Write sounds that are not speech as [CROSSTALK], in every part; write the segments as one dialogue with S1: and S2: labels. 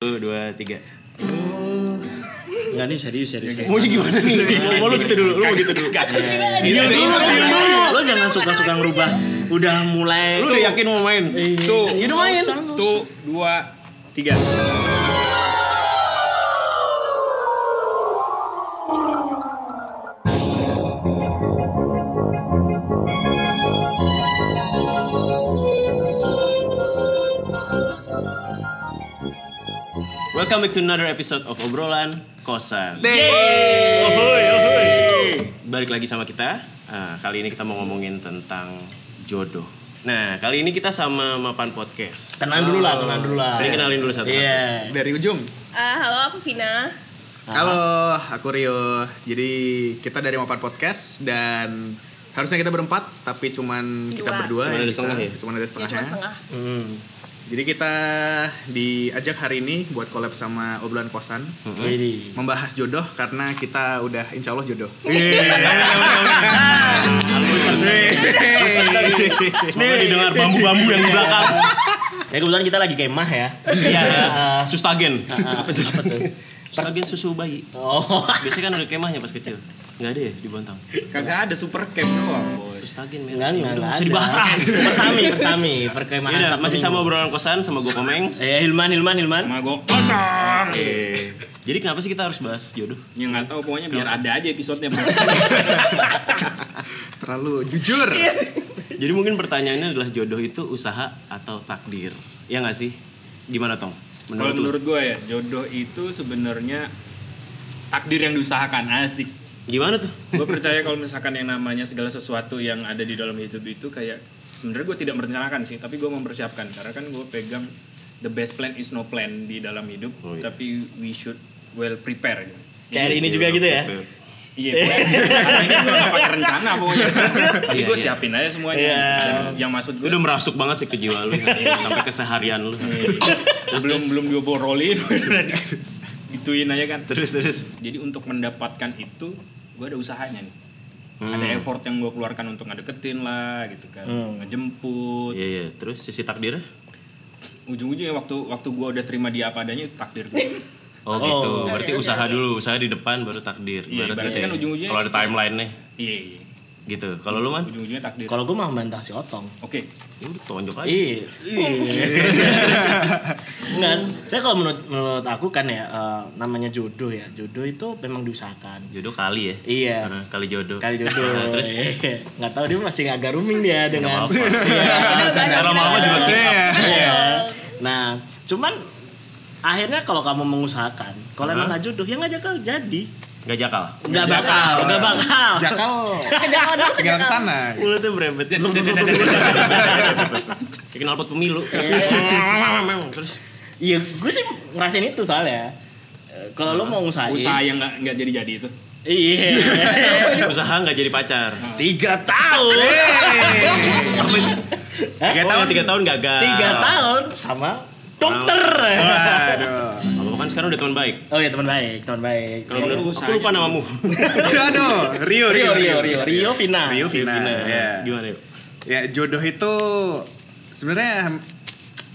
S1: Satu, dua, tiga.
S2: Enggak nih serius serius.
S1: Mau gimana sih? Mau lu gitu dulu, lu mau gitu dulu.
S2: Iya,
S1: Diam dulu, diam dulu.
S2: Lo jangan suka-suka ngerubah. Udah mulai.
S1: Lu udah yakin mau main?
S2: Iya.
S3: Tuh,
S1: Ya udah main.
S3: satu, dua, tiga.
S2: Welcome back to another episode of obrolan kosan.
S1: Yeay.
S2: Balik lagi sama kita. Nah, kali ini kita mau ngomongin tentang jodoh. Nah, kali ini kita sama Mapan Podcast.
S1: Kenalan dulu lah, kenalan dulu lah.
S2: Ini kenalin dulu satu.
S1: Iya.
S4: dari ujung.
S5: Ah, halo, aku Vina.
S4: Halo, aku Rio. Jadi kita dari Mapan Podcast dan harusnya kita berempat, tapi cuman kita berdua.
S5: Dua.
S2: Cuman
S4: yang
S2: ada
S4: bisa.
S2: setengah ya?
S4: Cuman ada
S5: Ya,
S4: setengahnya.
S5: cuma setengah.
S3: Hmm.
S4: Jadi kita diajak hari ini buat collab sama obrolan kosan,
S3: Hmm.
S2: Wih.
S4: membahas jodoh karena kita udah insya Allah jodoh.
S5: Iya.
S2: Semoga didengar bambu-bambu yang di belakang.
S3: Ya kebetulan kita lagi kemah ya.
S2: Iya. Sustagen. [LAUGHS] Apa tuh? Sustagen susu bayi.
S3: Oh. [LAUGHS]
S2: Biasanya kan ada kemahnya pas kecil. Enggak ada ya di Bontang.
S3: Kagak ada super camp doang, boy.
S2: Sustagen men.
S3: Enggak, enggak, enggak.
S2: Bisa
S3: ada.
S2: dibahas ah.
S3: Persami, persami, perkemahan
S2: Yaudah,
S3: Sabtu
S2: masih
S3: Minggu.
S2: sama obrolan kosan sama gue komeng.
S3: Eh, Hilman, Hilman, Hilman.
S6: sama gue kosong
S2: Jadi kenapa sih kita harus bahas jodoh?
S6: ya nggak tahu pokoknya biar ada aja episodenya bro
S4: Terlalu jujur.
S5: Iya.
S2: Jadi mungkin pertanyaannya adalah jodoh itu usaha atau takdir? Ya nggak sih? Gimana Tong?
S6: kalau
S2: Menurut lu?
S6: menurut gue ya jodoh itu sebenarnya takdir yang diusahakan asik
S2: Gimana tuh?
S6: gue percaya kalau misalkan yang namanya segala sesuatu yang ada di dalam hidup itu kayak sebenarnya gue tidak merencanakan sih tapi gue mempersiapkan karena kan gue pegang the best plan is no plan di dalam hidup
S2: Oh, iya.
S6: tapi we should well prepare gitu.
S3: Kayak hari ini juga gitu ya.
S6: Iya, gue- karena ini gue gak pakai rencana pokoknya. Tapi
S2: Iya,
S6: gue
S2: iya.
S6: siapin aja semuanya.
S3: Iya.
S6: Dan yang maksud
S2: Itu
S6: gue
S2: udah merasuk banget sih ke jiwa lu
S3: [LAUGHS]
S2: sampai keseharian lu.
S6: belum belum diobrolin udah di- [LAUGHS] gituin aja kan
S2: Terus terus.
S6: jadi untuk mendapatkan itu gue ada usahanya nih
S2: Hmm.
S6: ada effort yang gue keluarkan untuk ngedeketin lah gitu kan
S2: Hmm.
S6: ngejemput
S2: Iya iya. Terus sisi takdirnya?
S6: ujung-ujungnya waktu waktu gue udah terima dia apa adanya itu takdir
S2: [LAUGHS]
S6: gue
S2: Oh, gitu. Berarti usaha dulu, usaha di depan baru takdir.
S6: Iya, berarti kan ujung-ujungnya-
S2: kalau
S3: gitu.
S2: ada timeline nih
S6: iya iya
S2: gitu. Kalau lu
S3: Iya.
S2: man,
S6: ujung-ujungnya takdir oke
S3: Kalau gue mah bantah si Otong.
S2: ya udah tonjok aja.
S3: Iya. Iya. Enggak, saya kalau menurut menurut aku kan ya eh, namanya jodoh ya. Jodoh itu memang diusahakan.
S2: Jodoh kali ya.
S3: Iya.
S2: Karena Kali jodoh. [LAUGHS]
S3: Kali jodoh. Iya.
S2: Nah, terus
S3: Terus nggak tahu dia masih agak rooming dia dengan [LAUGHS]
S2: apa-apa. Karena lama-lama juga keep up.
S3: Iya. Nah, cuman akhirnya kalau kamu mengusahakan, kalau emang nggak jodoh ya nggak bakal jadi.
S2: Gak jakal.
S3: Nggak bakal, nggak bakal.
S4: Jakal. Tinggal ke sana.
S2: Mulutnya berempet. Kayak knalpot pemilu. [LAUGHS] Terus
S3: Iya, gue sih ngerasain itu soalnya. Eh, Kalau lo mau ngusahain,
S6: usaha yang nggak nggak jadi-jadi itu
S3: Iya. [LAUGHS]
S2: usaha nggak jadi pacar.
S3: Tiga tahun. Hah?
S2: Tiga tahun, tiga tahun gagal.
S3: Oh, Tiga tahun sama dokter.
S4: Ah.
S2: Apa
S4: Aduh.
S2: kan sekarang udah teman baik.
S3: Oh iya teman baik, teman baik.
S2: Kalau
S6: Iya,
S2: menurut aku
S6: usahanya.
S2: lupa namamu.
S4: Aduh. Rio,
S3: Rio, Rio, Rio, Rio, Vina.
S4: Rio Vina. ya.
S2: Gimana yuk?
S4: Ya jodoh itu sebenarnya hem,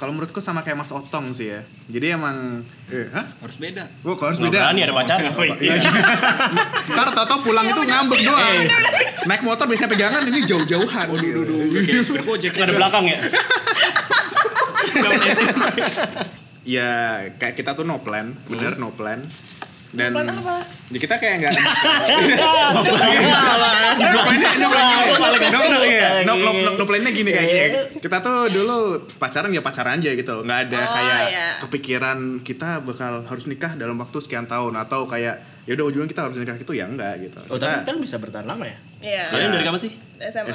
S4: kalau menurutku sama kayak Mas Otong sih ya. Jadi emang eh, hah?
S6: harus beda
S4: Gua kok harus
S2: Nggak
S4: beda.
S2: berani ya? ada
S4: [LAUGHS]
S2: pacar.
S4: Oh, iya.
S2: [LAUGHS]
S4: Ntar Toto pulang itu ngambek doang. Naik motor biasanya pegangan ini jauh-jauhan.
S2: Gojek ada belakang ya.
S4: Iya. ya kayak kita tuh no plan, bener no plan. Dan ya kita kayak nggak no plan-nya no plan-nya. No, no, iya. No, no, no, no plan-nya gini kayak gini. Kita tuh dulu pacaran ya pacaran aja gitu loh. Nggak ada
S5: Oh,
S4: kayak
S5: iya.
S4: kepikiran kita bakal harus nikah dalam waktu sekian tahun atau kayak ya udah ujungnya kita harus nikah gitu ya enggak gitu.
S3: Oh tapi
S4: Kita
S3: kan bisa bertahan lama ya?
S5: Iya.
S2: Kalian dari kapan sih?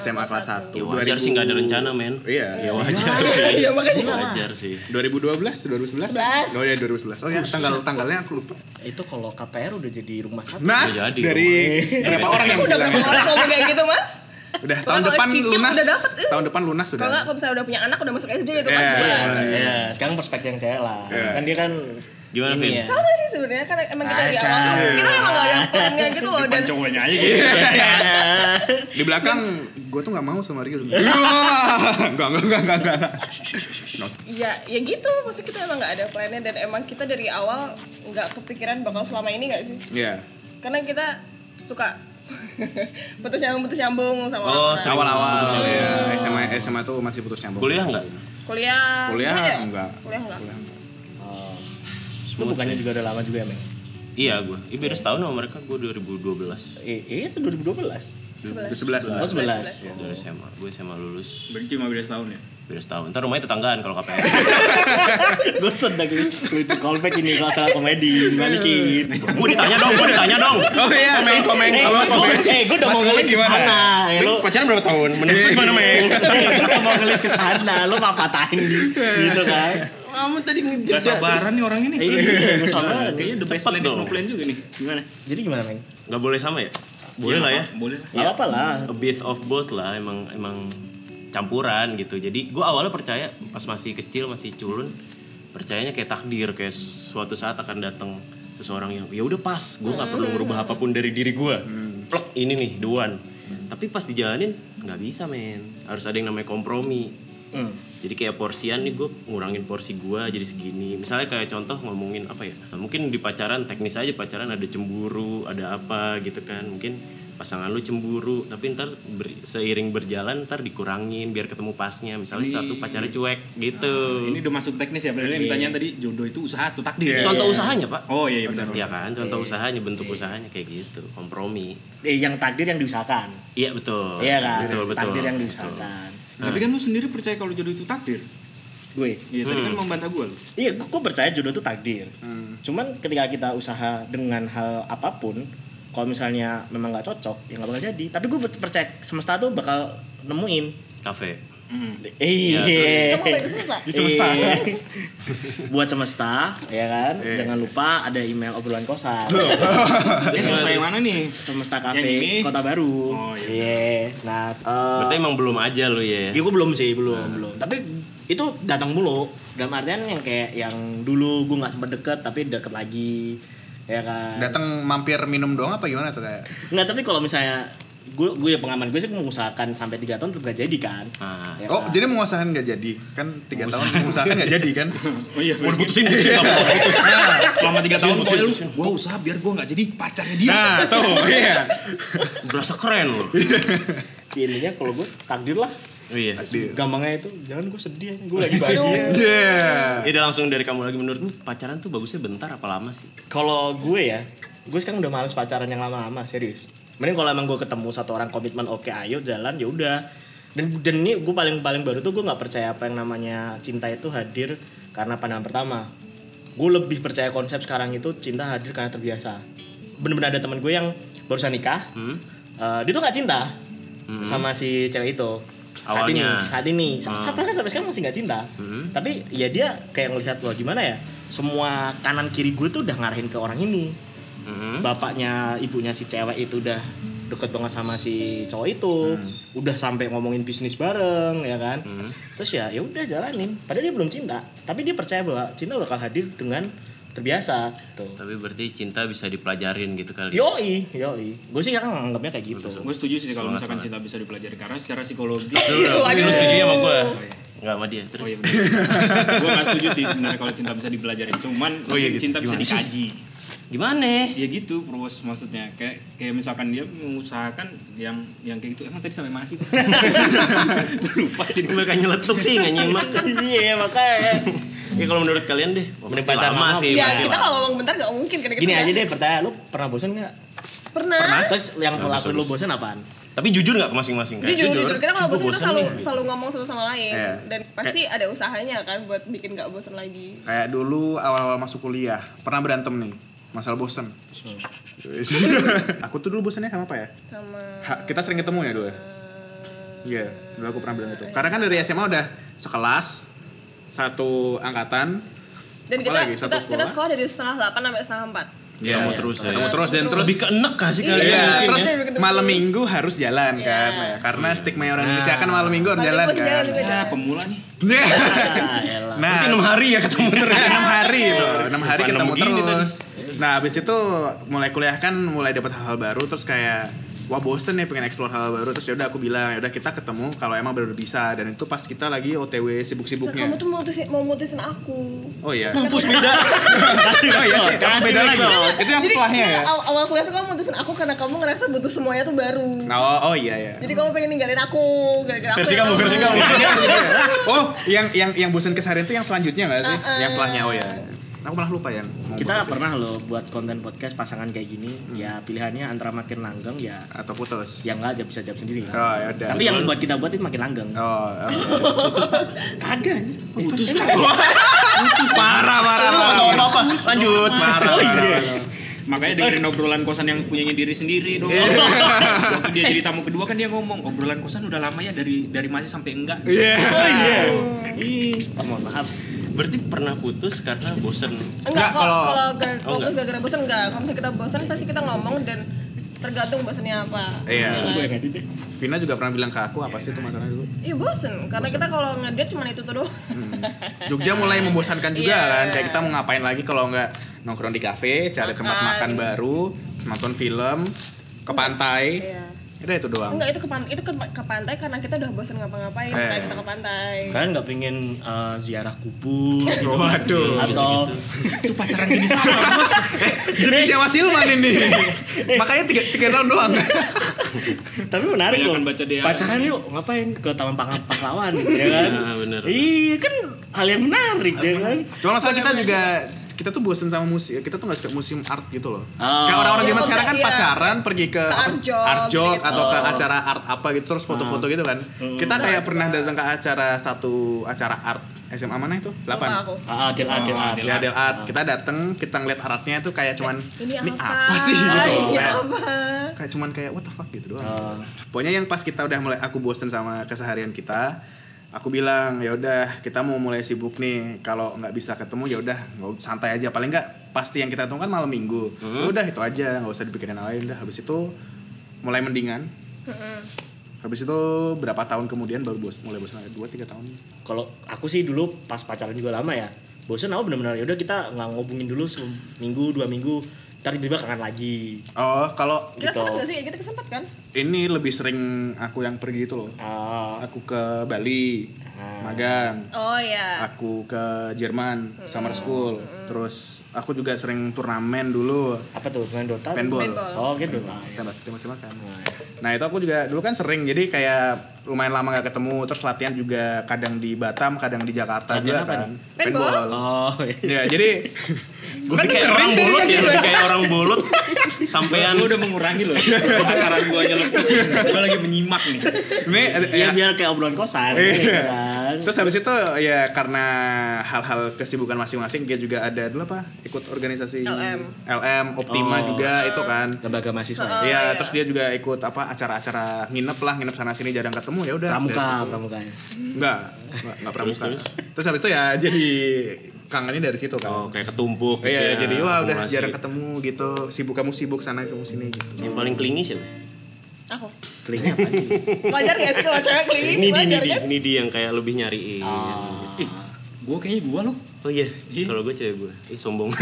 S4: SMA kelas 1.
S2: Ya wajar sih nggak ada rencana men. Ya
S4: Iya.
S2: wajar sih.
S5: Iya, makanya.
S2: Wajar sih.
S4: 2012, 2011.
S5: Sebelas.
S4: Oh ya 2011. Oh ya tanggal tanggalnya aku lupa.
S3: Itu kalau KPR udah jadi rumah sakit.
S4: Nas
S2: Udah jadi
S4: dari berapa orang yang
S5: Udah
S4: bilang?
S5: berapa orang ngomong kayak gitu, Mas?
S4: Udah
S5: Pokoknya
S4: tahun
S5: kalau
S4: depan
S5: cicip
S4: lunas.
S5: udah dapet, eh.
S4: Tahun depan lunas sudah.
S5: Kalau nggak, kalau misalnya udah punya anak, udah masuk SD gitu, Mas.
S4: Iya,
S5: Iya.
S4: iya.
S3: Iya, sekarang perspektif yang cewek lah.
S4: Iya.
S3: Kan dia kan
S2: Gimana,
S3: ini
S2: Nah, Vin?
S3: ya.
S5: Sama sih sebenarnya kan emang kita dari
S3: Aisyah.
S5: awal kita emang gak ada plannya gitu loh dan
S6: cowoknya aja gitu
S3: Iya.
S5: [LAUGHS]
S4: Di belakang gue tuh nggak mau sama Rio. sebenarnya. Wah, Enggak enggak enggak enggak. enggak. Not.
S5: ya ya gitu pasti kita emang nggak ada plannya dan emang kita dari awal nggak kepikiran bakal selama ini nggak sih
S4: Iya.
S5: karena kita suka [LAUGHS] putus nyambung putus nyambung sama
S2: Oh,
S5: orang.
S2: sama-
S4: Awal-awal ya SMA SMA tuh masih putus nyambung.
S2: Kuliah nggak?
S5: kuliah
S4: Kuliah
S5: gimana ya?
S4: enggak.
S5: kuliah enggak
S3: Oh. Lu bukannya juga udah lama juga ya, Meng?
S2: Iya gue. Iya beda setahun sama mereka gue 2012.
S3: Eh, eh, se- 2012.
S4: Udah 11
S3: Oh, 11.
S2: Ya, dari SMA. Gue SMA lulus
S6: Berarti cuma beda setahun ya.
S2: beda setahun. Ntar rumahnya tetanggaan kalau KPR.
S3: Gue sedang lucu callback ini kalau salah komedi, balikin.
S2: gue ditanya dong, gue ditanya dong.
S4: Oh iya, main pemain
S3: Eh,
S4: kalau
S3: gua- eh, gue udah mau ngelit ke sana. Ya, lu
S2: Pacaran berapa tahun?
S4: Iya,
S2: Menurut lu gimana, Meng?
S3: Eh, gua udah mau ngelit ke sana, lu mau patahin di- gitu kan.
S2: Kamu tadi
S6: Gak sabaran nih orang ini.
S3: Eh, Iya, gue sama.
S6: Kayaknya the best
S2: Cepet
S6: plan is no
S2: dong.
S6: plan juga nih. Gimana?
S3: Jadi gimana, Meng?
S2: Gak boleh sama ya?
S6: Iya.
S2: Boleh lah ya.
S6: Boleh lah.
S3: Gak apa lah.
S2: a bit of both lah emang emang campuran gitu jadi gue awalnya percaya pas masih kecil masih culun percayanya kayak takdir kayak suatu saat akan datang seseorang yang ya udah pas gue nggak perlu merubah apapun dari diri gue plek ini nih the one tapi pas dijalanin nggak bisa men harus ada yang namanya kompromi
S3: Hmm.
S2: jadi kayak porsian nih gue ngurangin porsi gue jadi segini misalnya kayak contoh ngomongin apa ya mungkin di pacaran teknis aja pacaran ada cemburu ada apa gitu kan mungkin pasangan lu cemburu tapi ntar ber- seiring berjalan ntar dikurangin biar ketemu pasnya misalnya satu pacarnya cuek gitu
S6: Ini udah masuk teknis ya. Berarti yang
S2: Iya.
S6: ditanya tadi jodoh itu usaha atau takdir.
S2: contoh usahanya pak
S6: Oh iya iya benar.
S2: ya kan Iya, contoh usahanya bentuk usahanya kayak gitu kompromi
S3: Eh, yang takdir yang diusahakan.
S2: iya betul
S3: Iya kan?
S2: betul betul
S3: Takdir yang
S2: betul.
S3: diusahakan.
S6: Tapi kan lu sendiri percaya kalau jodoh itu takdir.
S3: Gue.
S6: Iya, tadi
S2: Hmm.
S6: kan membantah gue lu.
S3: Iya, gue gue percaya jodoh itu takdir. Cuman ketika kita usaha dengan hal apapun, kalau misalnya memang nggak cocok, ya nggak bakal jadi. Tapi gue percaya semesta tuh bakal nemuin.
S2: kafe
S3: Iya.
S5: Kamu balik ke semesta?
S3: Di semesta. [LAUGHS] Buat semesta, ya kan?
S4: Iya.
S3: Jangan lupa ada email obrolan
S2: Eh,
S3: kosan.
S6: Terus
S2: Terus-
S6: Eh, yang mana nih?
S3: semesta
S6: Yang ini?
S3: Cafe Kota Baru.
S6: Oh, iya.
S3: Nah,
S2: berarti
S3: eh
S2: emang belum aja lu ya
S3: ya gue belum sih, belum, belum. Tapi itu datang mulu. Dalam artian yang kayak yang dulu gue nggak sempat deket, tapi deket lagi. Ya kan?
S4: Datang mampir minum doang apa gimana tuh kayak?
S3: Nggak, tapi kalau misalnya gue gue ya pengaman gue sih mengusahakan sampai tiga tahun tetap gak jadi kan.
S2: Ah.
S3: Ya
S4: Oh,
S3: kan?
S4: jadi mengusahakan nggak jadi. Kan 3 tahun mengusahakan nggak jadi
S2: [LAUGHS]
S4: kan? Nah,
S6: Oh iya.
S2: Mau diputusin putusin nggak mau.
S6: Selama 3
S2: Putusin,
S6: tahun pokoknya lu
S2: putusin.
S6: gua usaha biar gua enggak jadi pacarnya dia.
S4: Nah, tuh, iya.
S2: berasa keren loh
S3: Ya, Intinya kalau gue takdir lah.
S2: iya
S4: Di-
S3: Gampangnya itu jangan gue sedih, gue lagi bahagia.
S4: Iya.
S2: Iya udah langsung dari kamu lagi menurutmu pacaran tuh bagusnya bentar apa lama sih?
S3: Kalau gue ya, gue sekarang udah males pacaran yang lama-lama, serius. Mending kalau emang gue ketemu satu orang komitmen oke ayo jalan ya udah. Dan dan ini gue paling paling baru tuh gue nggak percaya apa yang namanya cinta itu hadir karena pandangan pertama. Gue lebih percaya konsep sekarang itu cinta hadir karena terbiasa. Bener-bener ada teman gue yang barusan nikah,
S2: Hmm?
S3: eh, dia tuh nggak cinta sama si cewek itu. Saat ini,
S2: Awalnya.
S3: saat ini, Sa-
S2: Hmm.
S3: sampai kan sampai sekarang masih nggak cinta.
S2: Hmm.
S3: Tapi ya dia kayak ngelihat loh gimana ya, semua kanan kiri gue tuh udah ngarahin ke orang ini.
S2: Hmm?
S3: Bapaknya, ibunya si cewek itu udah deket banget sama si cowok itu, udah sampai ngomongin bisnis bareng, ya kan.
S2: Hmm.
S3: Terus ya, ya udah jalanin. Padahal dia belum cinta, tapi dia percaya bahwa cinta bakal hadir dengan terbiasa. Tuh.
S2: Tapi berarti cinta bisa dipelajarin gitu kali.
S3: Yoi, yoi. Gue sih sekarang anggapnya kayak gitu.
S6: Gue setuju sih kalau
S2: Semangat,
S6: misalkan cinta bisa dipelajari karena secara psikologi
S2: Lu, lu,
S5: Waduh. Oh, iya.
S2: lu setuju ya sama gue? Enggak sama dia. Terus
S6: Oh iya Gue gak setuju sih sebenarnya kalau cinta bisa dipelajari Cuman
S2: Oh iya gitu.
S6: cinta bisa
S2: Gimana sih?
S6: dikaji
S2: gimana?
S6: Ya gitu pros maksudnya Kayak kayak misalkan dia mengusahakan yang yang kayak gitu Emang tadi sampai mana sih?
S2: Lupa jadi mereka nyeletuk sih nggak nyimak.
S3: [LAUGHS] Iya, makanya.
S2: Ya kalau menurut kalian deh, wah,
S3: Mending
S2: pasti
S3: pacaran
S2: lama
S3: lama.
S2: sih.
S5: ya
S2: pasti
S5: kita
S2: lama.
S5: kalau ngomong bentar nggak mungkin kan
S3: Gini aja deh, pertanyaan lu pernah bosan nggak?
S5: pernah,
S3: Terus yang
S2: Nggak
S3: lakuin lu
S2: bosan.
S3: bosan apaan?
S2: Tapi jujur nggak ke masing-masing kan?
S5: jujur, jujur, kita kalau
S2: Ih,
S5: bosan
S2: gua
S5: kita selalu
S2: nih.
S5: selalu ngomong satu sama lain
S4: Iya.
S5: dan pasti ada usahanya kan buat bikin nggak bosan lagi
S4: Kayak dulu awal-awal masuk kuliah, pernah berantem nih, masalah bosen. aku tuh dulu bosennya sama apa ya?
S5: sama
S4: Ha, kita sering ketemu ya dulu ya? Iya, dulu aku pernah bilang itu. Karena kan dari SMA udah sekelas, satu angkatan,
S5: dan
S4: Apa
S5: kita
S4: lagi? Satu
S5: kita, kita
S4: sekolah?
S5: sekolah dari setengah delapan sampai setengah empat
S2: Iya, Ketemu terus ya.
S4: ketemu terus dan terus
S2: Lebih keenek kan sih kalian?
S5: Iya,
S4: Iya, terus
S5: iya. Ketemu
S4: malam
S5: terus.
S4: minggu harus jalan
S5: Iya.
S4: kan, Nah, karena stigma orang Indonesia kan malam minggu harus
S5: Malam
S4: jalan
S5: minggu
S4: kan.
S5: harus jalan juga.
S6: Nah pemula nih
S4: Iya.
S3: [LAUGHS] Ah, elah.
S4: nah,
S2: Berarti enam hari ya ketemu terus.
S4: enam
S5: Iya.
S4: hari loh, enam hari
S2: Depan
S4: ketemu
S2: enam gini
S4: terus. Nah, habis itu mulai kuliah kan mulai dapat hal-hal baru terus kayak wah bosen ya pengen explore hal baru terus yaudah aku bilang yaudah kita ketemu kalau emang bener bisa dan itu pas kita lagi OTW
S5: Nah, kamu
S4: sibuk-sibuknya
S5: tuh mau mutusin, mau mutusin aku.
S4: oh iya [LAUGHS]
S1: Mampus beda.
S4: oh iya sih, kamu beda lagi itu yang
S5: Jadi,
S4: setelahnya
S5: enggak, oh.
S4: ya
S5: aw- awal kuliah tuh kamu mutusin aku karena kamu ngerasa butuh semuanya tuh baru.
S4: nah oh, oh iya ya
S5: Jadi kamu pengen ninggalin aku gara-gara aku ya kan?
S2: Versi
S5: yang
S2: kamu, versi kamu.
S4: [LAUGHS] oh yang yang yang bosen keseharian tuh yang selanjutnya nggak sih
S5: Uh-uh.
S4: yang setelahnya oh iya aku malah lupa ya mau
S3: kita
S4: putusin.
S3: pernah loh buat konten podcast pasangan kayak gini ya pilihannya antara makin langgeng ya
S4: atau putus
S3: yang nggak bisa jawab sendiri lah.
S4: oh yaudah
S3: tapi yang buat kita buat itu makin langgeng
S4: oh oke.
S3: kagak anjir.
S4: [LAUGHS] parah parah parah
S1: Tahu apa? Lanjut.
S4: parah parah.
S6: Makanya dengerin obrolan kosan yang punyanya diri sendiri dong. Waktu dia jadi tamu kedua kan dia ngomong obrolan kosan udah lama ya dari dari masih sampai enggak.
S4: Iya.
S3: Oh, mohon maaf
S2: Berarti pernah putus karena bosen.
S5: Enggak,
S4: Enggak,
S5: kalau
S4: kalau-
S5: kalau gara-
S2: Oh,
S5: fokus gara-gara bosan enggak. Kalau misalnya kita bosan pasti kita ngomong dan tergantung bosannya apa.
S4: Iya.
S5: Ya kan?
S4: Vina juga pernah bilang ke aku apa sih itu masalahnya dulu
S5: Iya bosan, karena kita kalau ngedate cuma itu tuh doang.
S4: Jogja mulai membosankan juga
S5: Iya.
S4: kan kayak kita mau ngapain lagi kalau nggak nongkrong di kafe cari tempat makan baru nonton film ke pantai
S5: Iya.
S4: udah itu doang
S5: Enggak itu ke pan- itu ke, ke pantai karena kita udah bosan ngapa-ngapain,
S4: Eh.
S5: makanya kita ke pantai.
S3: kalian nggak pengen eh, ziarah kubur gitu
S4: Waduh.
S3: atau
S4: jenis Dewa Silman
S5: [LAUGHS]
S4: ini makanya tiga, tiga tahun doang
S3: [LAUGHS] tapi menarik loh
S6: Kebanyakan baca dia.
S3: pacaran yuk ngapain ke taman Pang- pahlawan ya kan
S2: Nah, bener.
S3: iya kan hal yang menarik ya kan
S4: cuma masalah kita juga kita tuh bosen sama musik kita tuh nggak suka museum art gitu loh
S3: Oh.
S4: kayak orang-orang
S5: Iya,
S4: zaman sekarang kan
S5: iya.
S4: pacaran pergi ke, apa-
S5: art jog,
S4: art jog
S5: gitu-gitu.
S4: atau ke
S3: Oh.
S4: acara art apa gitu terus foto-foto gitu kan
S3: Hmm.
S4: kita
S5: Iya,
S4: kayak pernah datang ke acara satu acara art SMA mana itu
S5: Lupa
S4: delapan
S5: aku.
S3: ah adil adil adil
S4: Ya Del Art, kita dateng, kita ngeliat artnya tuh kayak cuman
S5: Eh, Ini apa?
S4: sih gitu.
S5: Ini
S4: Kayak-
S5: apa?
S4: Kayak cuman kayak what the fuck gitu doang.
S3: Eh,
S4: Pokoknya yang pas kita udah mulai aku bosen sama keseharian kita, aku bilang ya udah kita mau mulai sibuk nih. Kalau nggak bisa ketemu ya udah nggak us- santai aja. Paling nggak pasti yang kita tunggu kan malam minggu. Udah itu aja, nggak usah dipikirin yang lain. Udah habis itu mulai mendingan. Habis itu berapa tahun kemudian baru bos mulai bosan lagi dua tiga tahun.
S3: kalau aku sih dulu pas pacaran juga lama ya bosan aku bener-bener yaudah kita nggak ngobungin dulu seminggu dua minggu ntar tiba-tiba kangen lagi
S4: Oh kalau
S5: Kita
S3: Gitu.
S5: sempet gak sih? Kita kesempet kan?
S4: ini lebih sering aku yang pergi itu loh.
S3: Ah,
S4: aku ke Bali magang
S5: Oh iya.
S4: aku ke Jerman summer school terus aku juga sering turnamen dulu
S3: apa tuh main Dota
S4: Paintball.
S3: oh gitu Dota
S4: tembak tembak tembakan nah itu aku juga dulu kan sering jadi kayak lumayan lama gak ketemu terus latihan juga kadang di Batam kadang di Jakarta
S3: Latihan
S4: juga
S3: apa
S4: kan
S3: nih?
S5: Paintball?
S3: oh
S4: [LAUGHS] ya jadi
S2: Gue
S4: Kan
S2: kayak orang bolot ya,
S4: gitu.
S2: udah kayak orang bolot. Sampean
S6: Lu udah mengurangi loh. Pacaran gua aja lebih. Gua lagi menyimak nih.
S4: ini
S3: [LAUGHS] Iya
S4: ya,
S3: biar kayak obrolan kosan
S4: Iya.
S3: ya kan.
S4: Terus habis itu ya karena hal-hal kesibukan masing-masing dia juga ada dulu apa ikut organisasi
S5: LM.
S4: LM Optima
S3: Oh.
S4: juga itu kan.
S3: Lembaga mahasiswa. ya?
S5: Oh,
S4: Iya,
S5: iya.
S4: terus dia juga ikut apa acara-acara nginep lah, nginep sana sini jarang ketemu ya udah.
S3: Pramuka,
S4: dari situ.
S3: pramuka.
S4: Enggak, enggak, enggak pramuka. Terus, habis itu ya jadi kangennya dari situ kan.
S2: Oh, kayak ketumpuk gitu
S4: Iya,
S2: ya,
S4: jadi wah udah
S2: akumulasi.
S4: jarang ketemu gitu. Sibuk kamu sibuk sana kamu sini gitu.
S2: Yang paling klingi siapa?
S5: Aku.
S3: Kelingnya apa sih?
S5: Wajar gak sih kalau cewek
S2: Ini
S5: kelingin?
S2: di, ini
S5: Wajar
S2: di,
S5: kan?
S2: ini di yang kayak lebih nyariin.
S4: Oh.
S3: Ah.
S6: Gua kayaknya gua loh.
S2: Oh iya, kalau gue cewek gue, ih [LAUGHS] sombong.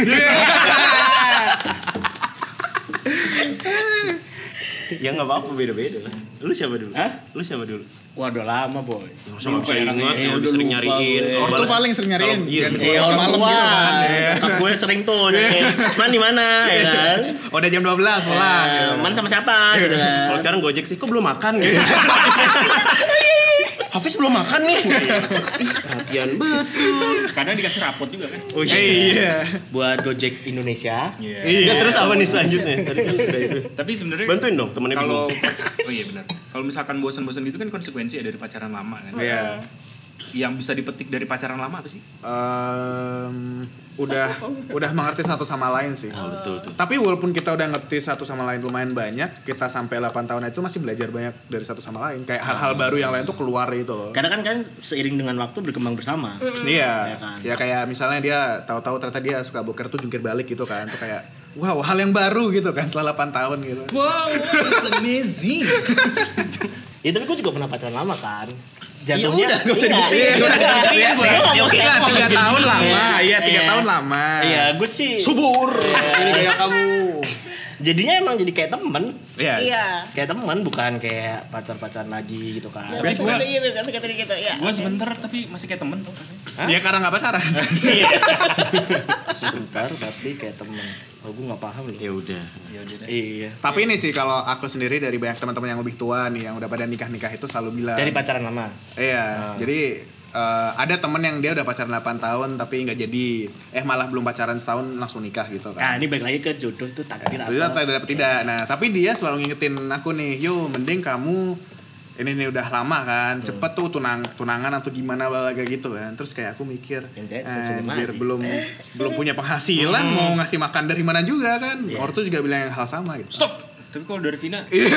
S2: ya nggak apa-apa beda-beda lah. Lu siapa dulu?
S3: Hah?
S2: Lu siapa dulu?
S3: Waduh lama boy.
S2: Masa nggak bisa
S6: Lupa ya,
S2: ingat,
S6: rasanya.
S2: ya,
S6: Udah
S2: udah sering
S6: lupa
S2: nyariin.
S6: gue.
S2: Kalau
S4: Ortu
S2: balas-
S4: paling sering nyariin.
S2: kalau- Iya,
S4: Dan-
S2: iya.
S3: Iya orang
S4: malam
S3: tua.
S4: gitu kan, iya.
S3: Kakak gue sering tuh nanyain, Man di mana ya kan?
S4: Oh, Udah jam 12 pulang.
S3: Eh, Man sama siapa gitu kan.
S2: Kalau sekarang Gojek sih, kok belum makan [LAUGHS] gitu. Eh, Hafiz belum makan nih. Perhatian banget.
S6: Kadang dikasih rapot juga kan.
S4: Oh iya.
S3: Buat Gojek Indonesia.
S6: Iya.
S2: Iya, terus apa nih selanjutnya? Tadi kan udah itu.
S6: Tapi sebenarnya
S2: Bantuin dong, temennya
S6: kalau [LAUGHS] oh iya benar. Kalau misalkan bosan-bosan gitu kan konsekuensi ya dari pacaran lama kan.
S4: Iya.
S6: Yang bisa dipetik dari pacaran lama apa sih?
S4: Em, udah udah mengerti satu sama lain sih.
S2: Oh, betul tuh.
S4: Tapi walaupun kita udah ngerti satu sama lain lumayan banyak, kita sampai 8 tahun itu masih belajar banyak dari satu sama lain. Kayak hal-hal baru yang lain tuh keluar gitu loh.
S3: Karena kan kan seiring dengan waktu berkembang bersama.
S4: Iya.
S3: Iya kan?
S4: Ya kayak misalnya dia tahu-tahu ternyata dia suka boker tuh jungkir balik gitu kan. Tuh kayak wow, hal yang baru gitu kan setelah 8 tahun gitu.
S6: Wow, it's amazing.
S3: Ya tapi gue juga pernah pacaran lama kan.
S2: Ya udah, nggak usah
S3: Iya.
S2: dibuktiin. Nggak usah dibuktiin, gue.
S3: Iya,
S4: Ya oke lah,
S3: maksudnya-
S4: 3 tahun lama. Iya, 3
S3: Iya.
S4: tahun lama.
S3: Iya, gue sih
S4: Subur. Ini kayak kamu.
S3: jadinya emang jadi kayak temen
S4: Iya.
S5: [LAUGHS] Iya.
S3: kayak temen bukan kayak pacar-pacaran lagi gitu kan
S5: Tapi seperti itu kan seperti gitu ya.
S6: Gue sebentar tapi masih kayak temen tuh.
S4: Ya karena nggak pacaran.
S3: sebentar tapi kayak temen oh gue nggak paham loh
S2: ya udah
S6: Ya udah deh.
S3: iya
S4: Tapi ini sih kalau aku sendiri dari banyak teman-teman yang lebih tua nih yang udah pada nikah-nikah itu selalu bilang.
S3: dari Ah. pacaran lama
S4: Iya, jadi eh, ada temen yang dia udah pacaran 8 tahun tapi nggak jadi, eh malah belum pacaran setahun langsung nikah gitu
S3: nah
S4: kan.
S3: ini balik lagi ke jodoh itu takdir
S4: Jadi
S3: apa
S4: tidak dapat tidak. Nah, tapi dia selalu ngingetin aku nih, yo mending kamu ini nih udah lama kan, cepet tuh tunang tunangan atau gimana balaga gitu kan. Terus kayak aku mikir,
S3: Yang kayak sudah
S4: anjir
S3: mati."
S4: belum belum punya penghasilan, mau ngasih makan dari mana juga kan. Ortu juga bilang yang hal sama gitu.
S6: Stop. Tapi kalau dari Vina,
S3: iya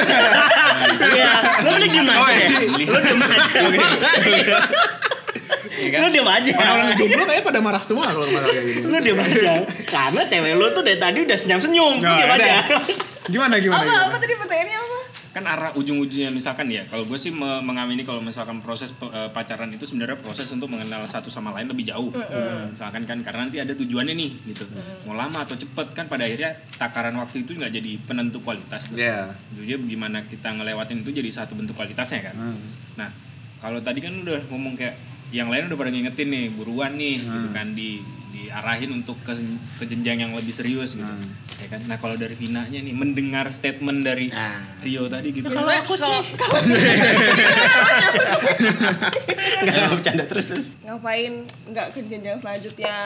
S3: lo udah diem
S4: Oh,
S3: aja ya
S4: iya.
S3: lo diem Iya aja lo diem aja
S4: Orang-orang jomblo kayaknya pada marah semua kalau marah kayak gini.
S3: lu diem aja karena cewek lu tuh dari tadi udah senyum senyum
S4: Nah,
S3: diem aja
S4: udah. Gimana gimana?
S5: Apa
S4: gimana?
S5: apa tadi pertanyaannya apa?
S6: kan arah ujung-ujungnya misalkan ya kalau gue sih me- mengamini kalau misalkan proses pe- eh, pacaran itu sebenarnya proses untuk mengenal satu sama lain lebih jauh misalkan kan karena nanti ada tujuannya nih gitu mau lama atau cepet kan pada akhirnya takaran waktu itu nggak jadi penentu kualitas tuh.
S4: Iya.
S6: Jujur gimana kita ngelewatin itu jadi satu bentuk kualitasnya kan
S4: Mm. Hmm.
S6: nah kalau tadi kan udah ngomong kayak yang lain udah pada ngingetin nih buruan nih gitu kan di diarahin untuk ke, ke jenjang yang lebih serius gitu ya kan nah kalau dari Vinanya nih mendengar statement dari
S3: Nah.
S6: Rio tadi gitu
S5: Kalau aku sih [LAUGHS]
S3: nggak bercanda terus terus
S5: ngapain nggak ke jenjang
S3: [LAUGHS]
S5: selanjutnya?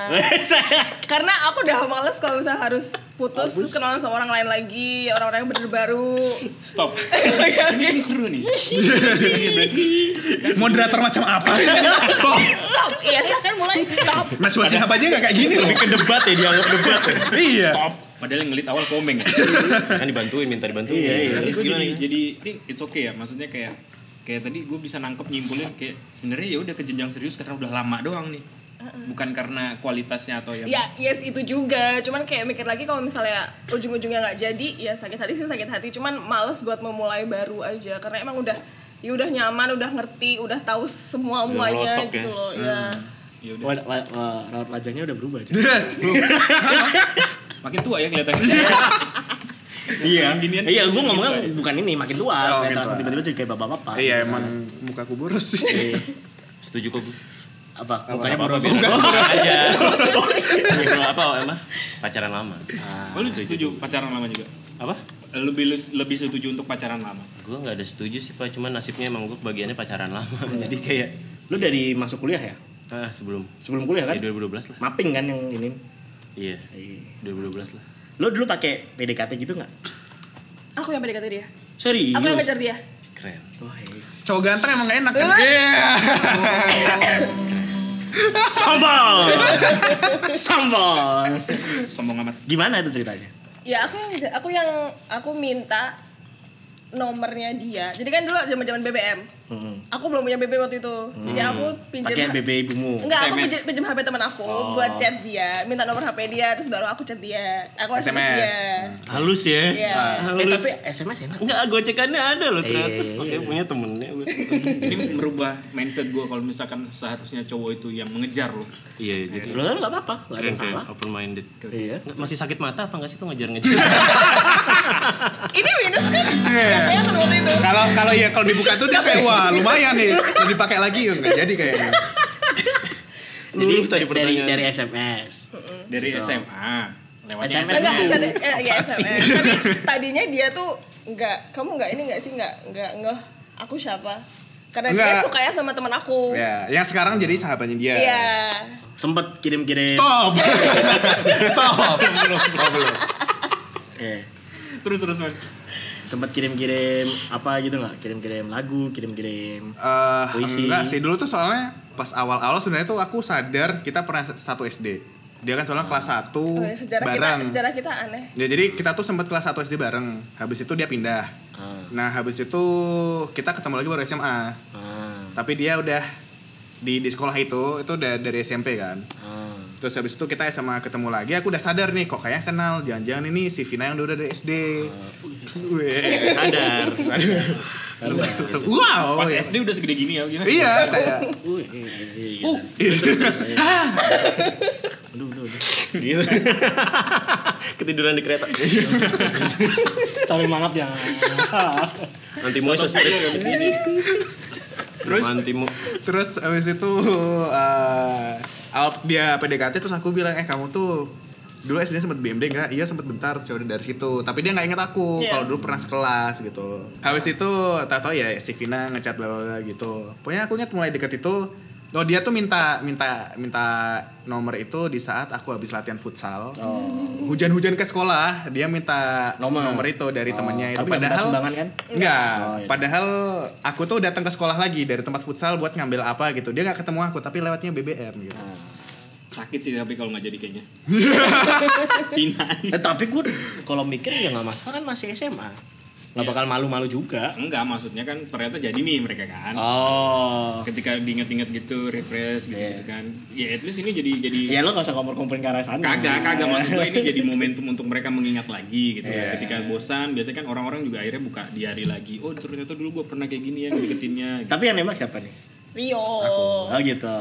S5: Karena aku udah males kalau misalnya harus putus terus kenalan sama orang lain lagi, orang-orang yang bener baru.
S6: stop
S2: [LAUGHS]
S6: ini ini seru nih
S4: moderator macam apa sih? Stop.
S5: Stop, iya kan mulai stop.
S4: Najwa Shihab aja gak kayak gini loh.
S1: Ke debat ya dialog debat. ya.
S4: Iya.
S6: padahal yang ngelit awal komeng ya
S2: kan dibantuin minta dibantuin
S3: Iya, iya.
S6: Terus
S2: Terus
S6: gua
S2: gimana
S6: jadi,
S2: nih?
S6: jadi it's okay ya maksudnya kayak kayak tadi gue bisa nangkep nyimpulin kayak sebenarnya ya udah ke jenjang serius karena udah lama doang nih bukan karena kualitasnya atau yang
S5: Ya, yes itu juga. Cuman kayak mikir lagi kalau misalnya ujung-ujungnya nggak jadi, ya sakit hati sih sakit hati. Cuman males buat memulai baru aja karena emang udah ya udah nyaman, udah ngerti, udah tahu semua muanya
S2: ngelotok ya.
S5: gitu loh. Ya.
S3: Hmm.
S6: ya udah
S3: Wah, wah, wah, raut wajahnya udah berubah aja.
S4: Iya.
S6: makin tua ya kelihatannya iya ginian
S3: iya, gue ngomongnya bukan ini, makin
S4: Oh,
S3: tua.
S4: makin
S3: Kayak
S4: tua.
S3: salah tiba-tiba jadi kayak bapak-bapak.
S4: Iya emang muka aku boros sih.
S2: setuju kok gue
S6: Ya,
S3: Apa? Mukanya boros.
S6: [LAUGHS]
S2: aja Gitu, apa emang pacaran lama Ah,
S6: lu setuju pacaran lama juga
S2: apa
S6: lebih lebih setuju untuk pacaran lama
S2: gue nggak ada setuju sih pak cuman nasibnya emang gue bagiannya pacaran lama [LAUGHS] jadi kayak
S3: Lu dari masuk kuliah ya?
S2: ah sebelum
S3: Sebelum kuliah
S4: Iya,
S3: kan?
S2: ya 2012 lah
S3: Mapping kan yang ini.
S2: iya
S3: Iya.
S2: 2012 lah
S3: Lu dulu pakai PDKT gitu nggak?
S5: Aku yang PDKT dia.
S3: Serius?
S5: Aku yang ngejar dia.
S2: keren
S3: Wah, iya.
S4: [LAUGHS] Cowok ganteng emang gak enak kan? Iya.
S3: Sambal! [LAUGHS] Sambal!
S6: sombong amat
S3: Gimana itu ceritanya?
S5: Ya aku yang ngejar- aku yang aku minta nomornya dia. Jadi kan dulu zaman-zaman BBM.
S3: Hmm.
S5: Aku belum punya BBM waktu itu. Jadi aku pinjam
S3: Pakai BB ibumu.
S5: Enggak, aku
S6: SMS.
S5: pinjam, pinjam HP teman aku buat chat dia, minta nomor HP dia, terus baru aku chat dia. Aku SMS, dia.
S4: SMS.
S2: halus ya
S5: Iya.
S3: Eh, tapi SMS enak.
S2: Enggak, gocekannya ada loh
S3: Iya,
S2: ternyata.
S3: iya,
S2: Oke,
S3: iya.
S2: punya temennya. gue.
S6: ini merubah mindset gue kalau misalkan seharusnya cowok itu yang mengejar loh
S2: Iya, iya, jadi
S3: Lu kan nggak apa-apa, nggak ada
S2: keren
S3: yang
S2: keren,
S3: salah.
S2: open minded.
S3: Iya.
S2: Masih sakit mata apa enggak sih kok ngejar-ngejar?
S5: Ini minus kan? Kelihatan waktu itu.
S4: Kalau kalau ya kalau dibuka tuh dia kayak wah lumayan nih. Kalau dipakai lagi ya nggak jadi kayaknya.
S3: Jadi
S2: Lurus tadi
S3: dari
S2: pertanyaan.
S3: dari SMS.
S6: dari SMA lewat
S3: SMS.
S6: SMS
S5: Enggak, chat eh, ya SMS. Tapi tadinya dia tuh enggak, kamu enggak ini enggak sih enggak enggak ngeh aku siapa? Karena dia
S4: Enggak. iya.
S5: suka ya sama teman aku. Iya.
S4: Ya, yang sekarang jadi sahabatnya dia.
S3: Sempet kirim-kirim.
S4: Stop.
S2: [LAUGHS]
S4: Stop.
S3: Eh,
S6: terus terus man
S3: Sempet kirim-kirim apa gitu nggak? Kirim-kirim lagu, kirim-kirim.
S4: [LAUGHS] Eh,
S3: Puisi.
S4: enggak sih dulu tuh soalnya pas awal-awal sebenarnya tuh aku sadar kita pernah satu SD. Dia kan soalnya kelas 1
S5: Oh, ya, sejarah
S4: bareng.
S5: kita sejarah kita aneh.
S4: Ya jadi kita tuh sempat kelas 1 SD bareng. Habis itu dia pindah.
S3: Ah,
S4: Nah, habis itu kita ketemu lagi baru
S3: ah,
S4: SMA. Tapi dia udah di di sekolah itu itu udah dari SMP kan.
S3: ah.
S4: Terus habis itu kita SMA ketemu lagi, aku udah sadar nih kok kayaknya kenal. Jangan-jangan ini si Vina yang udah dari SD.
S2: iya.
S4: Weh. [LAUGHS]
S2: Sadar.
S4: wow.
S6: pas
S4: ya.
S6: SD udah segede gini ya gimana
S4: Iya, kayak
S3: Uh, iya, iya, iya.
S4: uh.
S3: Aduh, aduh, udah.
S2: gitu [LAUGHS] ketiduran di kereta
S3: Sampai mangap ya.
S2: anti motion strip di sini terus anti mo
S4: Terus abis itu eh, awal dia PDKT terus aku bilang eh kamu tuh dulu SD sempet BMD nggak? Iya sempet bentar coba dari situ. Tapi dia nggak inget aku
S5: Iya.
S4: kalau dulu pernah sekelas gitu. Habis itu tak tahu ya si Vina ngechat bla bla bla gitu. Pokoknya aku ingat mulai deket itu Oh dia tuh minta minta minta nomor itu di saat aku habis latihan futsal.
S3: Oh.
S4: Hujan-hujan ke sekolah, dia minta nomor,
S3: Nomor.
S4: itu dari
S3: Oh,
S4: temennya itu
S3: tapi nggak minta
S4: padahal
S3: sumbangan kan?
S4: Enggak.
S3: Oh, iya.
S4: Padahal aku tuh datang ke sekolah lagi dari tempat futsal buat ngambil apa gitu. Dia nggak ketemu aku tapi lewatnya BBM gitu.
S3: Oh.
S6: sakit sih tapi kalau nggak jadi kayaknya
S3: [LAUGHS] Eh, tapi gue kalau mikir ya nggak masalah kan masih SMA. Nggak
S6: Iya.
S3: bakal malu-malu juga.
S6: enggak maksudnya kan ternyata jadi nih mereka kan
S3: Oh.
S6: ketika diinget-inget gitu refresh gitu,
S3: Iya.
S6: kan ya at least ini jadi jadi
S2: Iya.
S3: Ya lo gak usah kompor-komporin ke arah sana.
S6: kagak kagak maksud gue ini jadi momentum untuk mereka mengingat lagi gitu
S3: Iya.
S6: ya ketika bosan biasanya kan orang-orang juga akhirnya buka diari lagi oh ternyata dulu gue pernah kayak gini ya deketinnya gitu.
S3: Tapi yang nembak siapa nih?
S5: Rio.
S3: Oh gitu.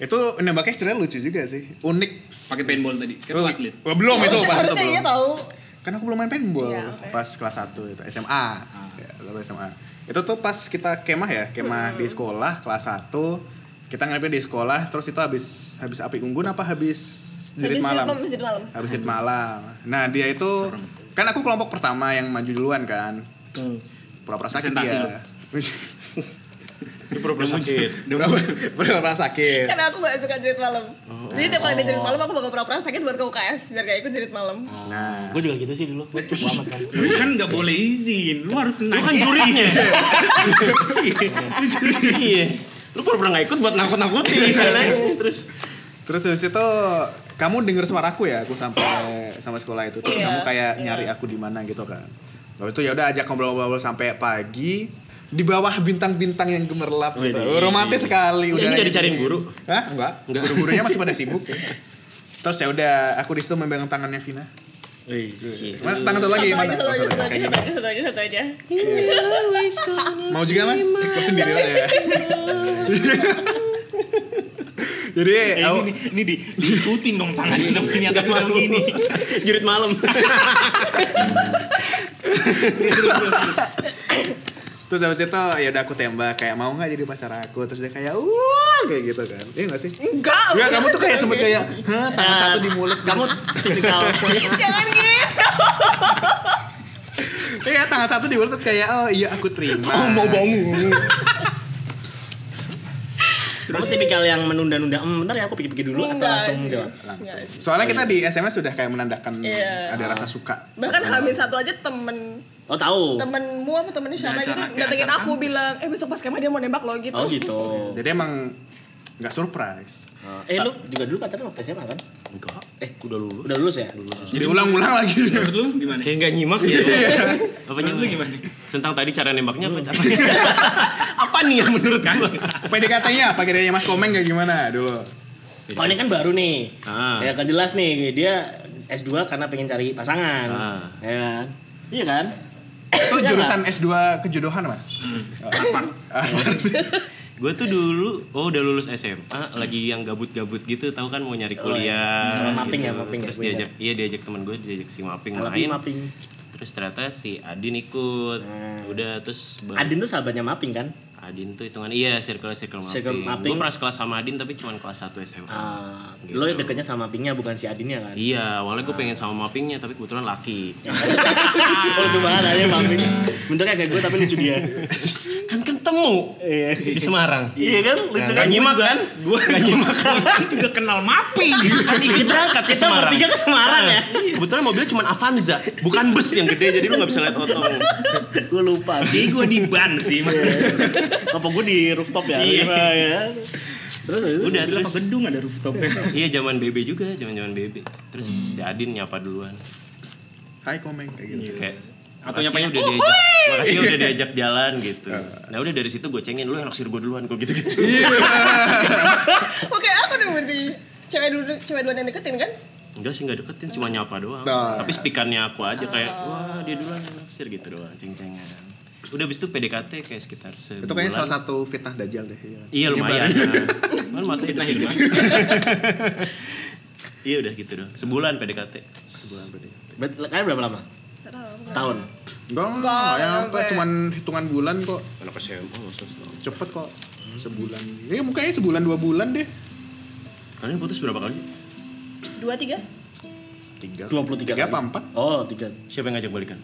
S4: Itu nembaknya sebenarnya lucu juga sih. Unik.
S6: pakai paintball tadi kan
S4: Oh,
S6: lu atlet
S4: Wah, belum itu
S5: Harusnya-
S4: pas itu
S5: harusnya
S4: belum.
S5: iya tahu.
S4: Kan aku belum main paintball
S5: Iya, oke.
S4: pas kelas 1 itu SMA.
S3: Ah.
S4: Ya, kelas SMA. Itu tuh pas kita kemah ya, kemah
S5: Hmm.
S4: di sekolah kelas 1 kita nginepnya di sekolah terus itu habis habis api unggun apa habis jerit
S5: Habis
S4: malam
S5: itu masjid malam.
S4: habis itu malam nah dia itu kan aku kelompok pertama yang maju duluan kan
S3: Hmm.
S4: pura-pura sakit
S6: Presentasi lu.
S4: dia
S2: ini pura-pura sakit
S4: Pura- [LAUGHS] pura-pura sakit
S5: Karena Kan aku gak suka jerit malam. Jadi tiap kali ada jerit malam aku bakal pura-pura sakit buat ke UKS biar gak ikut jerit malam.
S4: nah
S3: Gue juga gitu sih dulu. Gue cukup amat [LAUGHS] kan.
S6: lu kan nggak boleh izin lu harus
S2: lu kan
S6: nanya
S3: [LAUGHS]
S2: jurinya
S3: Iya.
S2: iya lu pura-pura nggak ikut buat
S3: Iya.
S2: nakut-nakutin misalnya terus
S4: terus habis itu kamu denger suara aku ya aku sampai sama sekolah itu terus
S5: Iya,
S4: kamu kayak
S5: iya.
S4: nyari aku di mana gitu kan Lalu itu ya udah ajak ngobrol-ngobrol sampai pagi di bawah bintang-bintang yang gemerlap gitu.
S2: Widih.
S4: Romantis sekali.
S2: Ini
S4: udah
S2: nggak dicariin guru?
S4: Hah? Enggak.
S2: Nggak.
S4: Guru-gurunya masih pada sibuk. Terus ya udah aku di situ memegang tangannya Vina. Iya. Mana tangan satu lagi
S5: Satu
S4: mana?
S5: aja, satu
S4: Oh, sorry.
S5: aja, satu aja,
S4: Kayak
S5: satu aja, satu aja, satu aja.
S4: Mau juga mas? Kok sendiri lah
S5: [LAUGHS]
S4: ya. Jadi
S6: Eh,
S4: aku,
S6: ini, ini, ini di, diikutin dong tangannya tapi ini atau malam gini
S2: jurit malam
S4: terus habis itu ya udah aku tembak kayak mau nggak jadi pacar aku terus dia kayak wah kayak gitu kan. Iya nggak sih?
S5: Enggak.
S4: Ya kamu tuh kayak sempet kayak hah tangan
S3: Ya,
S4: satu di mulut.
S3: Kamu tipikal
S5: [LAUGHS] Jangan gitu.
S4: Iya tangan satu di mulut terus kayak oh iya aku terima. Oh mau bangun.
S3: kamu tipikal yang menunda-nunda. Hmm, bentar ya aku pikir-pikir dulu atau
S5: Enggak. iya.
S3: langsung jawab.
S5: Enggak.
S4: Soalnya kita di SMS sudah kayak menandakan
S5: Iya.
S4: ada rasa suka.
S5: Bahkan hamil satu aja temen
S3: Oh tahu.
S5: temenmu apa temennya
S4: Nah,
S5: Syama
S6: Di
S5: gitu
S6: acara- di
S5: datengin
S6: acara
S5: aku bilang eh besok pas kemah dia mau nembak lo gitu.
S3: Oh gitu.
S4: Jadi emang nggak surprise.
S3: Eh lu juga dulu pacaran waktu SMA kan?
S2: enggak eh udah lulus
S3: Udah lulus ya?
S4: Diulang-ulang [LAUGHS] lagi.
S6: menurut lu gimana
S2: kayak nggak
S3: Iya.
S2: nyimak ya apa
S6: menurut lu
S2: nyimak
S6: gimana
S2: tentang tadi cara nembaknya apa apa,
S3: Iya.
S2: [LAUGHS] apa nih yang menurut gua
S4: PDKT-nya apa kira-kira Mas Komeng kayak gimana dulu?
S3: Oh ini kan baru nih.
S2: Ah.
S3: Ya kejelas nih dia S2 karena pengen cari pasangan.
S2: Ah.
S3: Ya kan? Iya kan?
S4: Itu jurusan S2 kejodohan, Mas.
S2: Gue tuh dulu, oh udah lulus SMA, lagi yang gabut-gabut gitu, tahu kan mau nyari
S3: Oh,
S2: kuliah.
S3: sama mapping
S2: gitu.
S3: ya, mapping ya,
S2: Terus
S3: gua
S2: diajak, iya diajak teman gue, diajak si mapping
S3: Tapi
S2: main.
S3: mapping.
S2: Terus ternyata si Adin ikut,
S3: Hmm.
S2: udah terus. ba-
S3: Adin tuh sahabatnya mapping kan?
S2: Adin tuh hitungan iya circle circle
S3: Circle
S2: mapping.
S3: mapping.
S2: Gue pernah sekelas sama Adin tapi cuma kelas 1 SMA.
S3: Ah,
S2: Gitu.
S3: Lo deketnya sama mappingnya bukan si Adinnya kan?
S2: Iya, awalnya gue pengen sama mappingnya tapi kebetulan laki.
S3: [LAUGHS] Oh coba banget aja mapping. Bentuknya kayak gue tapi lucu dia.
S2: kan ketemu
S3: Iya.
S2: di Semarang.
S3: Iya kan? Lucu kan?
S2: Gak nyimak kan? Gue gak nyimak kan?
S6: juga kenal mapi
S2: Kan ikut berangkat ke
S3: Kita
S2: Semarang.
S3: bertiga ke Semarang ya?
S2: Ah, iya. Kebetulan mobilnya cuma Avanza, bukan bus yang gede jadi lu nggak bisa lihat otong.
S3: Gue lupa. [LAUGHS]
S6: jadi gue di ban sih Mas.
S3: Apa gue di rooftop ya?
S2: Iya.
S3: Iya. ya. Terus habis itu
S2: Udah
S6: Di
S2: terus
S6: apa gedung ada rooftopnya
S2: Iya zaman BB juga, zaman-zaman BB. Terus si Adin nyapa duluan.
S4: Hai Komeng kayak
S6: Iya.
S4: gitu.
S2: Kayak "Makasih
S6: Atau
S2: ya,
S6: nyapanya,
S4: "Oh,
S2: udah diajak. Makasih ya, udah diajak jalan gitu.
S6: Iya.
S2: Nah udah dari situ gue cengin lu yang naksir gue duluan kalau gitu-gitu.
S4: Iya.
S5: Oke, aku dong berarti cewek dulu cewek duluan yang deketin kan?
S2: Enggak sih enggak deketin, cuma nyapa doang.
S4: Nah.
S2: Tapi spikannya aku aja kayak wah dia duluan yang naksir gitu doang, ceng-cengan. Udah abis itu PDKT kayak sekitar sebulan.
S4: Itu kayaknya salah satu fitnah dajal deh.
S2: Iya lumayan. Iya, Kan matanya
S6: Fitnah
S2: udah tiga.
S6: Hilman
S2: [LAUGHS] Iya udah gitu doang. Sebulan PDKT.
S4: Sebulan berarti.
S3: Bet- Kalian berapa lama? Setahun.
S4: Enggak, enggak, ya, apa, cuman hitungan bulan kok.
S1: Anak SMA maksudnya.
S4: Cepet kok. Sebulan. Ya mukanya sebulan dua bulan deh.
S2: Kalian putus berapa kali? sih?
S5: Dua tiga?
S4: Tiga.
S3: 23
S4: Tiga
S3: kali.
S4: apa empat?
S3: Oh, tiga.
S2: Siapa yang ngajak balikan?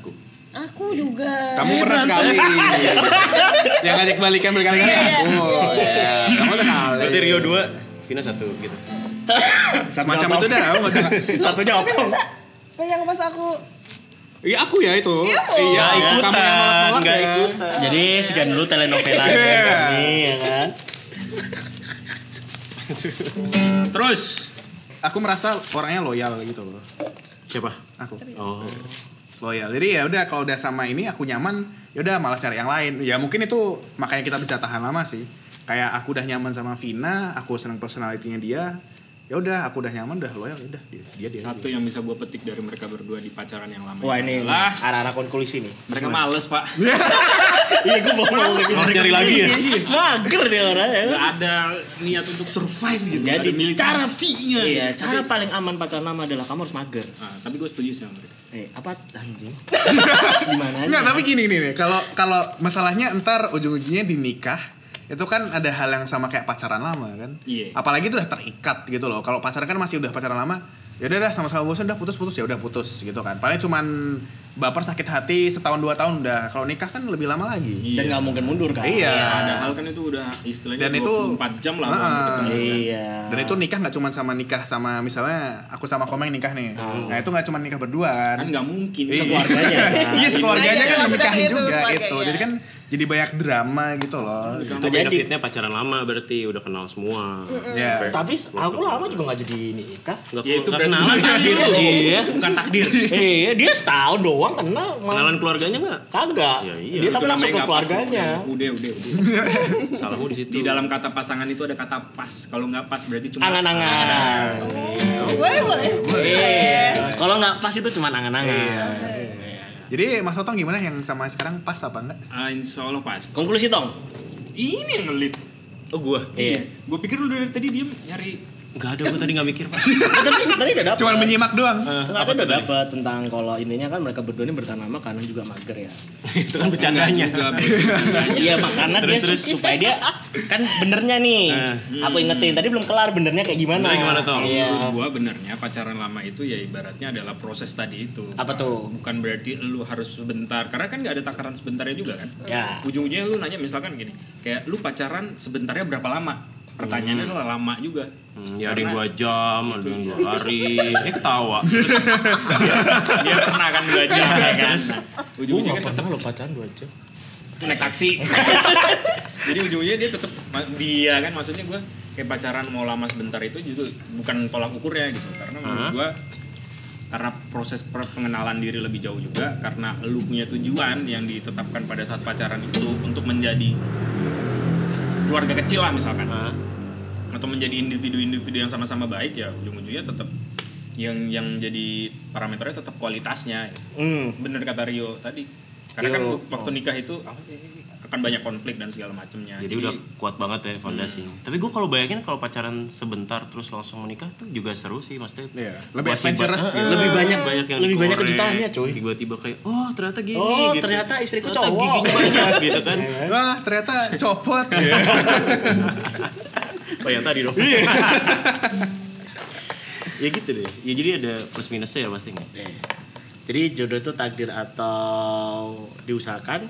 S4: Aku.
S5: Aku juga.
S4: Eh, Kamu pernah sekali. yang ngajak balikan berkali-kali aku. Ya, kamu sekali.
S2: Berarti Rio 2, Vina 1 gitu.
S4: Semacam itu dah, aku nggak
S3: Satunya
S5: Tapi
S3: opong.
S5: masa Oh, yang pas aku
S4: Iya aku ya itu.
S5: Iya, Bu.
S4: Iya,
S2: ikutan,
S4: kamu yang nolak-nolak
S2: nggak
S4: ya.
S2: ikutan.
S3: Jadi sekian dulu telenovela
S4: Iya.
S3: kami ya kan.
S6: Terus
S4: Aku merasa orangnya loyal gitu loh.
S2: Siapa?
S4: Aku.
S2: Oh.
S4: loyal. Jadi ya udah kalau udah sama ini aku nyaman, ya udah malah cari yang lain. Ya mungkin itu makanya kita bisa tahan lama sih. Kayak aku udah nyaman sama Vina, aku seneng personalitinya dia. Ya udah, aku udah nyaman, udah loyal, ya udah dia dia. dia,
S6: satu
S4: dia.
S6: yang bisa gua petik dari mereka berdua di pacaran yang lama
S3: Wah ini
S6: adalah
S3: arah-arah konklusi nih.
S6: mereka males pak. [LAUGHS]
S3: Iya gue mau ngomong ke
S2: Harus cari lagi ya?
S3: Mager dia orangnya.
S6: Gak ada niat untuk survive gitu. nggak
S3: Jadi
S6: ada militan.
S3: cara Iya, cara paling aman pacaran lama adalah kamu harus mager.
S6: Nah, tapi gue setuju sih sama mereka.
S3: Eh, apa anjing? [LAUGHS] Gimana aja?
S4: Enggak, tapi gini nih nih. Kalau kalau masalahnya entar ujung-ujungnya di nikah itu kan ada hal yang sama kayak pacaran lama kan.
S6: Iya.
S4: Apalagi itu udah terikat gitu loh. Kalau pacaran kan masih udah pacaran lama, ya udah dah sama-sama bosan udah putus-putus ya udah putus gitu kan. Paling cuman baper sakit hati setahun dua tahun udah. Kalau nikah kan lebih lama lagi.
S3: Dan nggak mungkin mundur kan?
S4: Iya.
S6: Padahal kan itu udah istilahnya
S4: Dan itu-
S6: 24 jam lah. gitu.
S4: Ah.
S6: orang ketemu.
S3: Iya.
S4: Dan itu nikah nggak cuman sama nikah sama misalnya aku sama Komeng nikah nih.
S5: Hmm.
S4: Nah, itu nggak cuman nikah berduaan.
S6: Kan nggak mungkin.
S4: Iya.
S3: [LAUGHS] keluarganya.
S4: [LAUGHS] Iya, sekeluarganya
S5: Iya,
S4: kan
S5: maksudnya
S4: nikahin
S5: gitu,
S4: juga
S5: keluarganya. Hmm.
S4: gitu. Jadi kan jadi banyak drama gitu loh.
S2: Itu
S3: Jadi-
S2: benefitnya pacaran lama berarti udah kenal semua.
S4: Ya.
S3: Tapi aku lama juga nggak jadi nikah.
S2: Enggak
S6: Ya itu berarti [LAUGHS]
S2: kenalan takdir lu.
S3: Iya.
S6: Bukan takdir.
S3: Eh, dia setahun doang kenal. malah
S2: Kenalan keluarganya enggak?
S3: Kagak.
S2: Ya, iya.
S3: Dia
S6: Itu
S3: tapi langsung ke
S6: namanya nggak pas,
S3: keluarganya.
S6: Bu. Udah, udah, udah.
S2: Salahmu di situ.
S6: Di dalam kata pasangan itu ada kata pas. Kalau nggak pas berarti cuma
S3: Angan-angan.
S5: boleh boleh.
S3: Iya. Kalau nggak pas itu cuma angan-angan.
S4: Jadi Mas Otong gimana yang sama sekarang pas apa enggak?
S6: Ah, insya Allah pas.
S3: Konklusi tong.
S6: Ini yang ngelit.
S2: Oh gua.
S3: Iya.
S6: Gue pikir lu dari tadi diem nyari
S2: Enggak ada gua tadi enggak mikir, Eh, Pak.
S3: Eh, Tapi tadi udah dapet.
S4: Cuman menyimak doang.
S3: Nggak, tadi udah dapet tentang kalau ininya kan mereka berdua ini bertahan lama karena juga mager ya.
S2: itu kan bercandanya.
S6: Nggak juga.
S3: Iya makanya dia
S2: Terus, terus.
S3: supaya dia kan benernya nih. Aku ingetin tadi belum kelar benernya kayak gimana.
S2: Nah. Benernya gimana, Tom?
S3: Iya.
S6: Menurut gua benernya pacaran lama itu ya ibaratnya adalah proses tadi itu.
S3: Apa tuh?
S6: Bukan berarti lu harus sebentar karena kan nggak ada takaran sebentarnya juga kan.
S3: Ya.
S6: Ujung-ujungnya lu nanya misalkan gini, kayak lu pacaran sebentarnya berapa lama? Pertanyaannya adalah lama juga.
S2: Hmm, ya ada yang dua jam, ada yang dua hari. Eh ketawa. Terus
S6: Dia pernah kan [LAUGHS] belajar ya kan. Nah, ujung-ujungnya kan tetap
S3: lo pacaran dua jam.
S6: naik taksi. [LAUGHS] Jadi ujung-ujungnya dia tetap dia kan maksudnya gua kayak pacaran mau lama sebentar itu justru bukan tolak ukurnya gitu karena menurut
S2: Hah?
S6: gua karena proses per- pengenalan diri lebih jauh juga karena lu punya tujuan yang ditetapkan pada saat pacaran itu untuk menjadi keluarga kecil lah misalkan
S2: Hah?
S6: atau menjadi individu-individu yang sama-sama baik ya ujung-ujungnya tetap yang yang jadi parameternya tetap kualitasnya gitu
S3: Hmm.
S6: bener kata Rio tadi
S3: Rio,
S6: karena kan waktu nikah itu apa sih, akan banyak konflik dan segala macamnya
S2: Nah, Jadi udah kuat banget ya fondasinya. Tapi gue kalau bayangin kalau pacaran sebentar terus langsung menikah tuh juga seru sih maksudnya.
S4: Iya, lebih
S2: Masih
S4: adventurous
S2: ba-
S4: ya.
S2: Ah, Lebih banyak banyak yang
S3: lebih banyak
S2: dikorek.
S3: kejutannya, cuy.
S2: Tiba-tiba kayak oh ternyata gini
S3: Oh,
S2: gitu.
S3: ternyata istriku
S2: Ternyata
S3: cowok.
S2: giginya banyak gitu
S3: [LAUGHS]
S2: kan.
S4: Wah, ternyata
S5: [LAUGHS]
S4: copot.
S5: Iya.
S2: Oh yang tadi dong.
S3: Iya.
S2: [LAUGHS] ya gitu deh. Ya jadi ada plus minusnya ya pasti.
S3: Iya. Jadi jodoh itu takdir atau diusahakan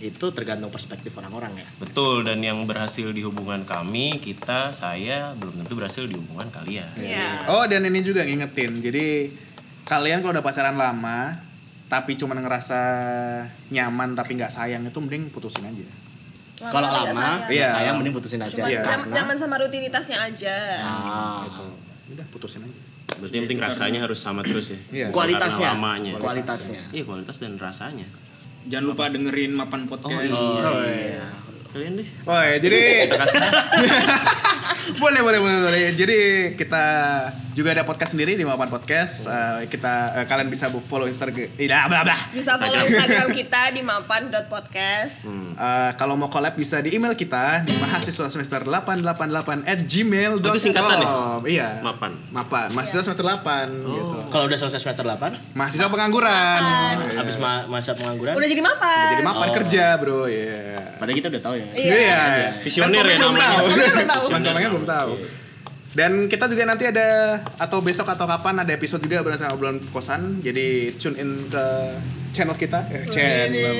S3: itu tergantung perspektif orang-orang ya.
S2: Betul dan yang berhasil di hubungan kami, kita, saya belum tentu berhasil di hubungan kalian.
S5: Iya.
S4: [LAUGHS] Oh, dan ini juga ngingetin. Jadi kalian kalau udah pacaran lama tapi cuman ngerasa nyaman tapi nggak sayang itu mending putusin aja.
S3: Kalau lama,
S4: Iya.
S3: ya sayang mending putusin aja.
S5: Cuma
S4: Iya.
S5: nyaman
S3: Karena-
S5: nyaman sama rutinitasnya aja.
S3: Ah,
S5: Oh.
S4: Udah putusin aja.
S2: Berarti
S1: Iya,
S2: yang penting rasanya harus sama terus ya.
S4: Iya.
S2: Bukan
S3: kualitasnya,
S2: karena lamanya.
S3: kualitasnya.
S2: Iya kualitas dan rasanya.
S6: jangan lupa dengerin mapan podcast
S4: Oh, iya.
S2: Kalian deh.
S4: Oh, ya, jadi [LAUGHS]
S2: Terima kasih.
S4: boleh boleh boleh boleh. Jadi kita juga ada podcast sendiri di Mapan Podcast.
S2: Hmm.
S4: Eh, kita eh, kalian bisa bu- follow Instagram.
S5: Bisa follow Instagram kita di mapan.podcast.
S3: Hmm.
S2: Hmm.
S4: Eh, kalau mau collab bisa di email kita di mahasiswa semester 888 at gmail.com.
S2: Oh, itu singkatan ya?
S4: Iya.
S2: Mapan. Oh.
S4: Mapan. Mahasiswa semester 8 gitu.
S3: Kalau udah selesai semester 8,
S4: Mahasiswa pengangguran.
S1: Iya.
S3: habis ma masa pengangguran,
S5: Udah jadi mapan.
S4: Jadi mapan
S2: Oh.
S4: kerja, Bro. Iya.
S3: padahal kita udah tahu ya.
S5: Iya. Kan
S2: Visioner ya
S5: Belum
S2: namanya.
S5: tahu. Kalian belum tahu.
S4: Cuman temennya belum tahu. Dan kita juga nanti ada atau besok atau kapan ada episode juga bersama obrolan kosan. Jadi tune in ke channel kita, Eh,
S5: Iya.
S4: channel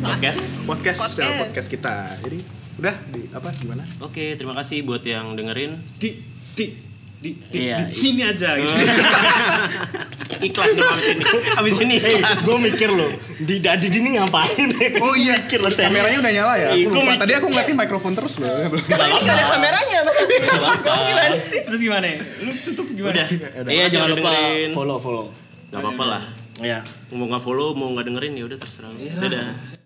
S2: Podcast.
S4: podcast
S5: Podcast.
S4: channel podcast kita. Jadi udah di apa gimana?
S2: Oke, terima kasih buat yang dengerin.
S1: Di di di di, di
S2: Iya.
S1: sini aja
S2: [LAUGHS]
S1: gitu.
S2: Iklan dong abis ini. Abis ini
S3: Hey,
S2: iklan.
S3: gue mikir loh, di dadi dini ngapain?
S4: Oh iya,
S3: Mikir loh, serius.
S4: kameranya udah nyala ya.
S3: Iya, gua
S4: Aku lupa.
S3: mikir.
S4: Tadi aku ngeliatin mikrofon terus loh.
S5: Ini gak kan ada kameranya. Mas.
S1: Terus gimana? ya? Lu tutup gimana?
S2: Udah.
S3: Iya, jangan lupa
S2: dengerin.
S3: follow follow.
S2: Gak apa-apa lah.
S3: Iya.
S1: Iya
S2: Mau nggak follow, mau nggak dengerin ya udah terserah. Dadah.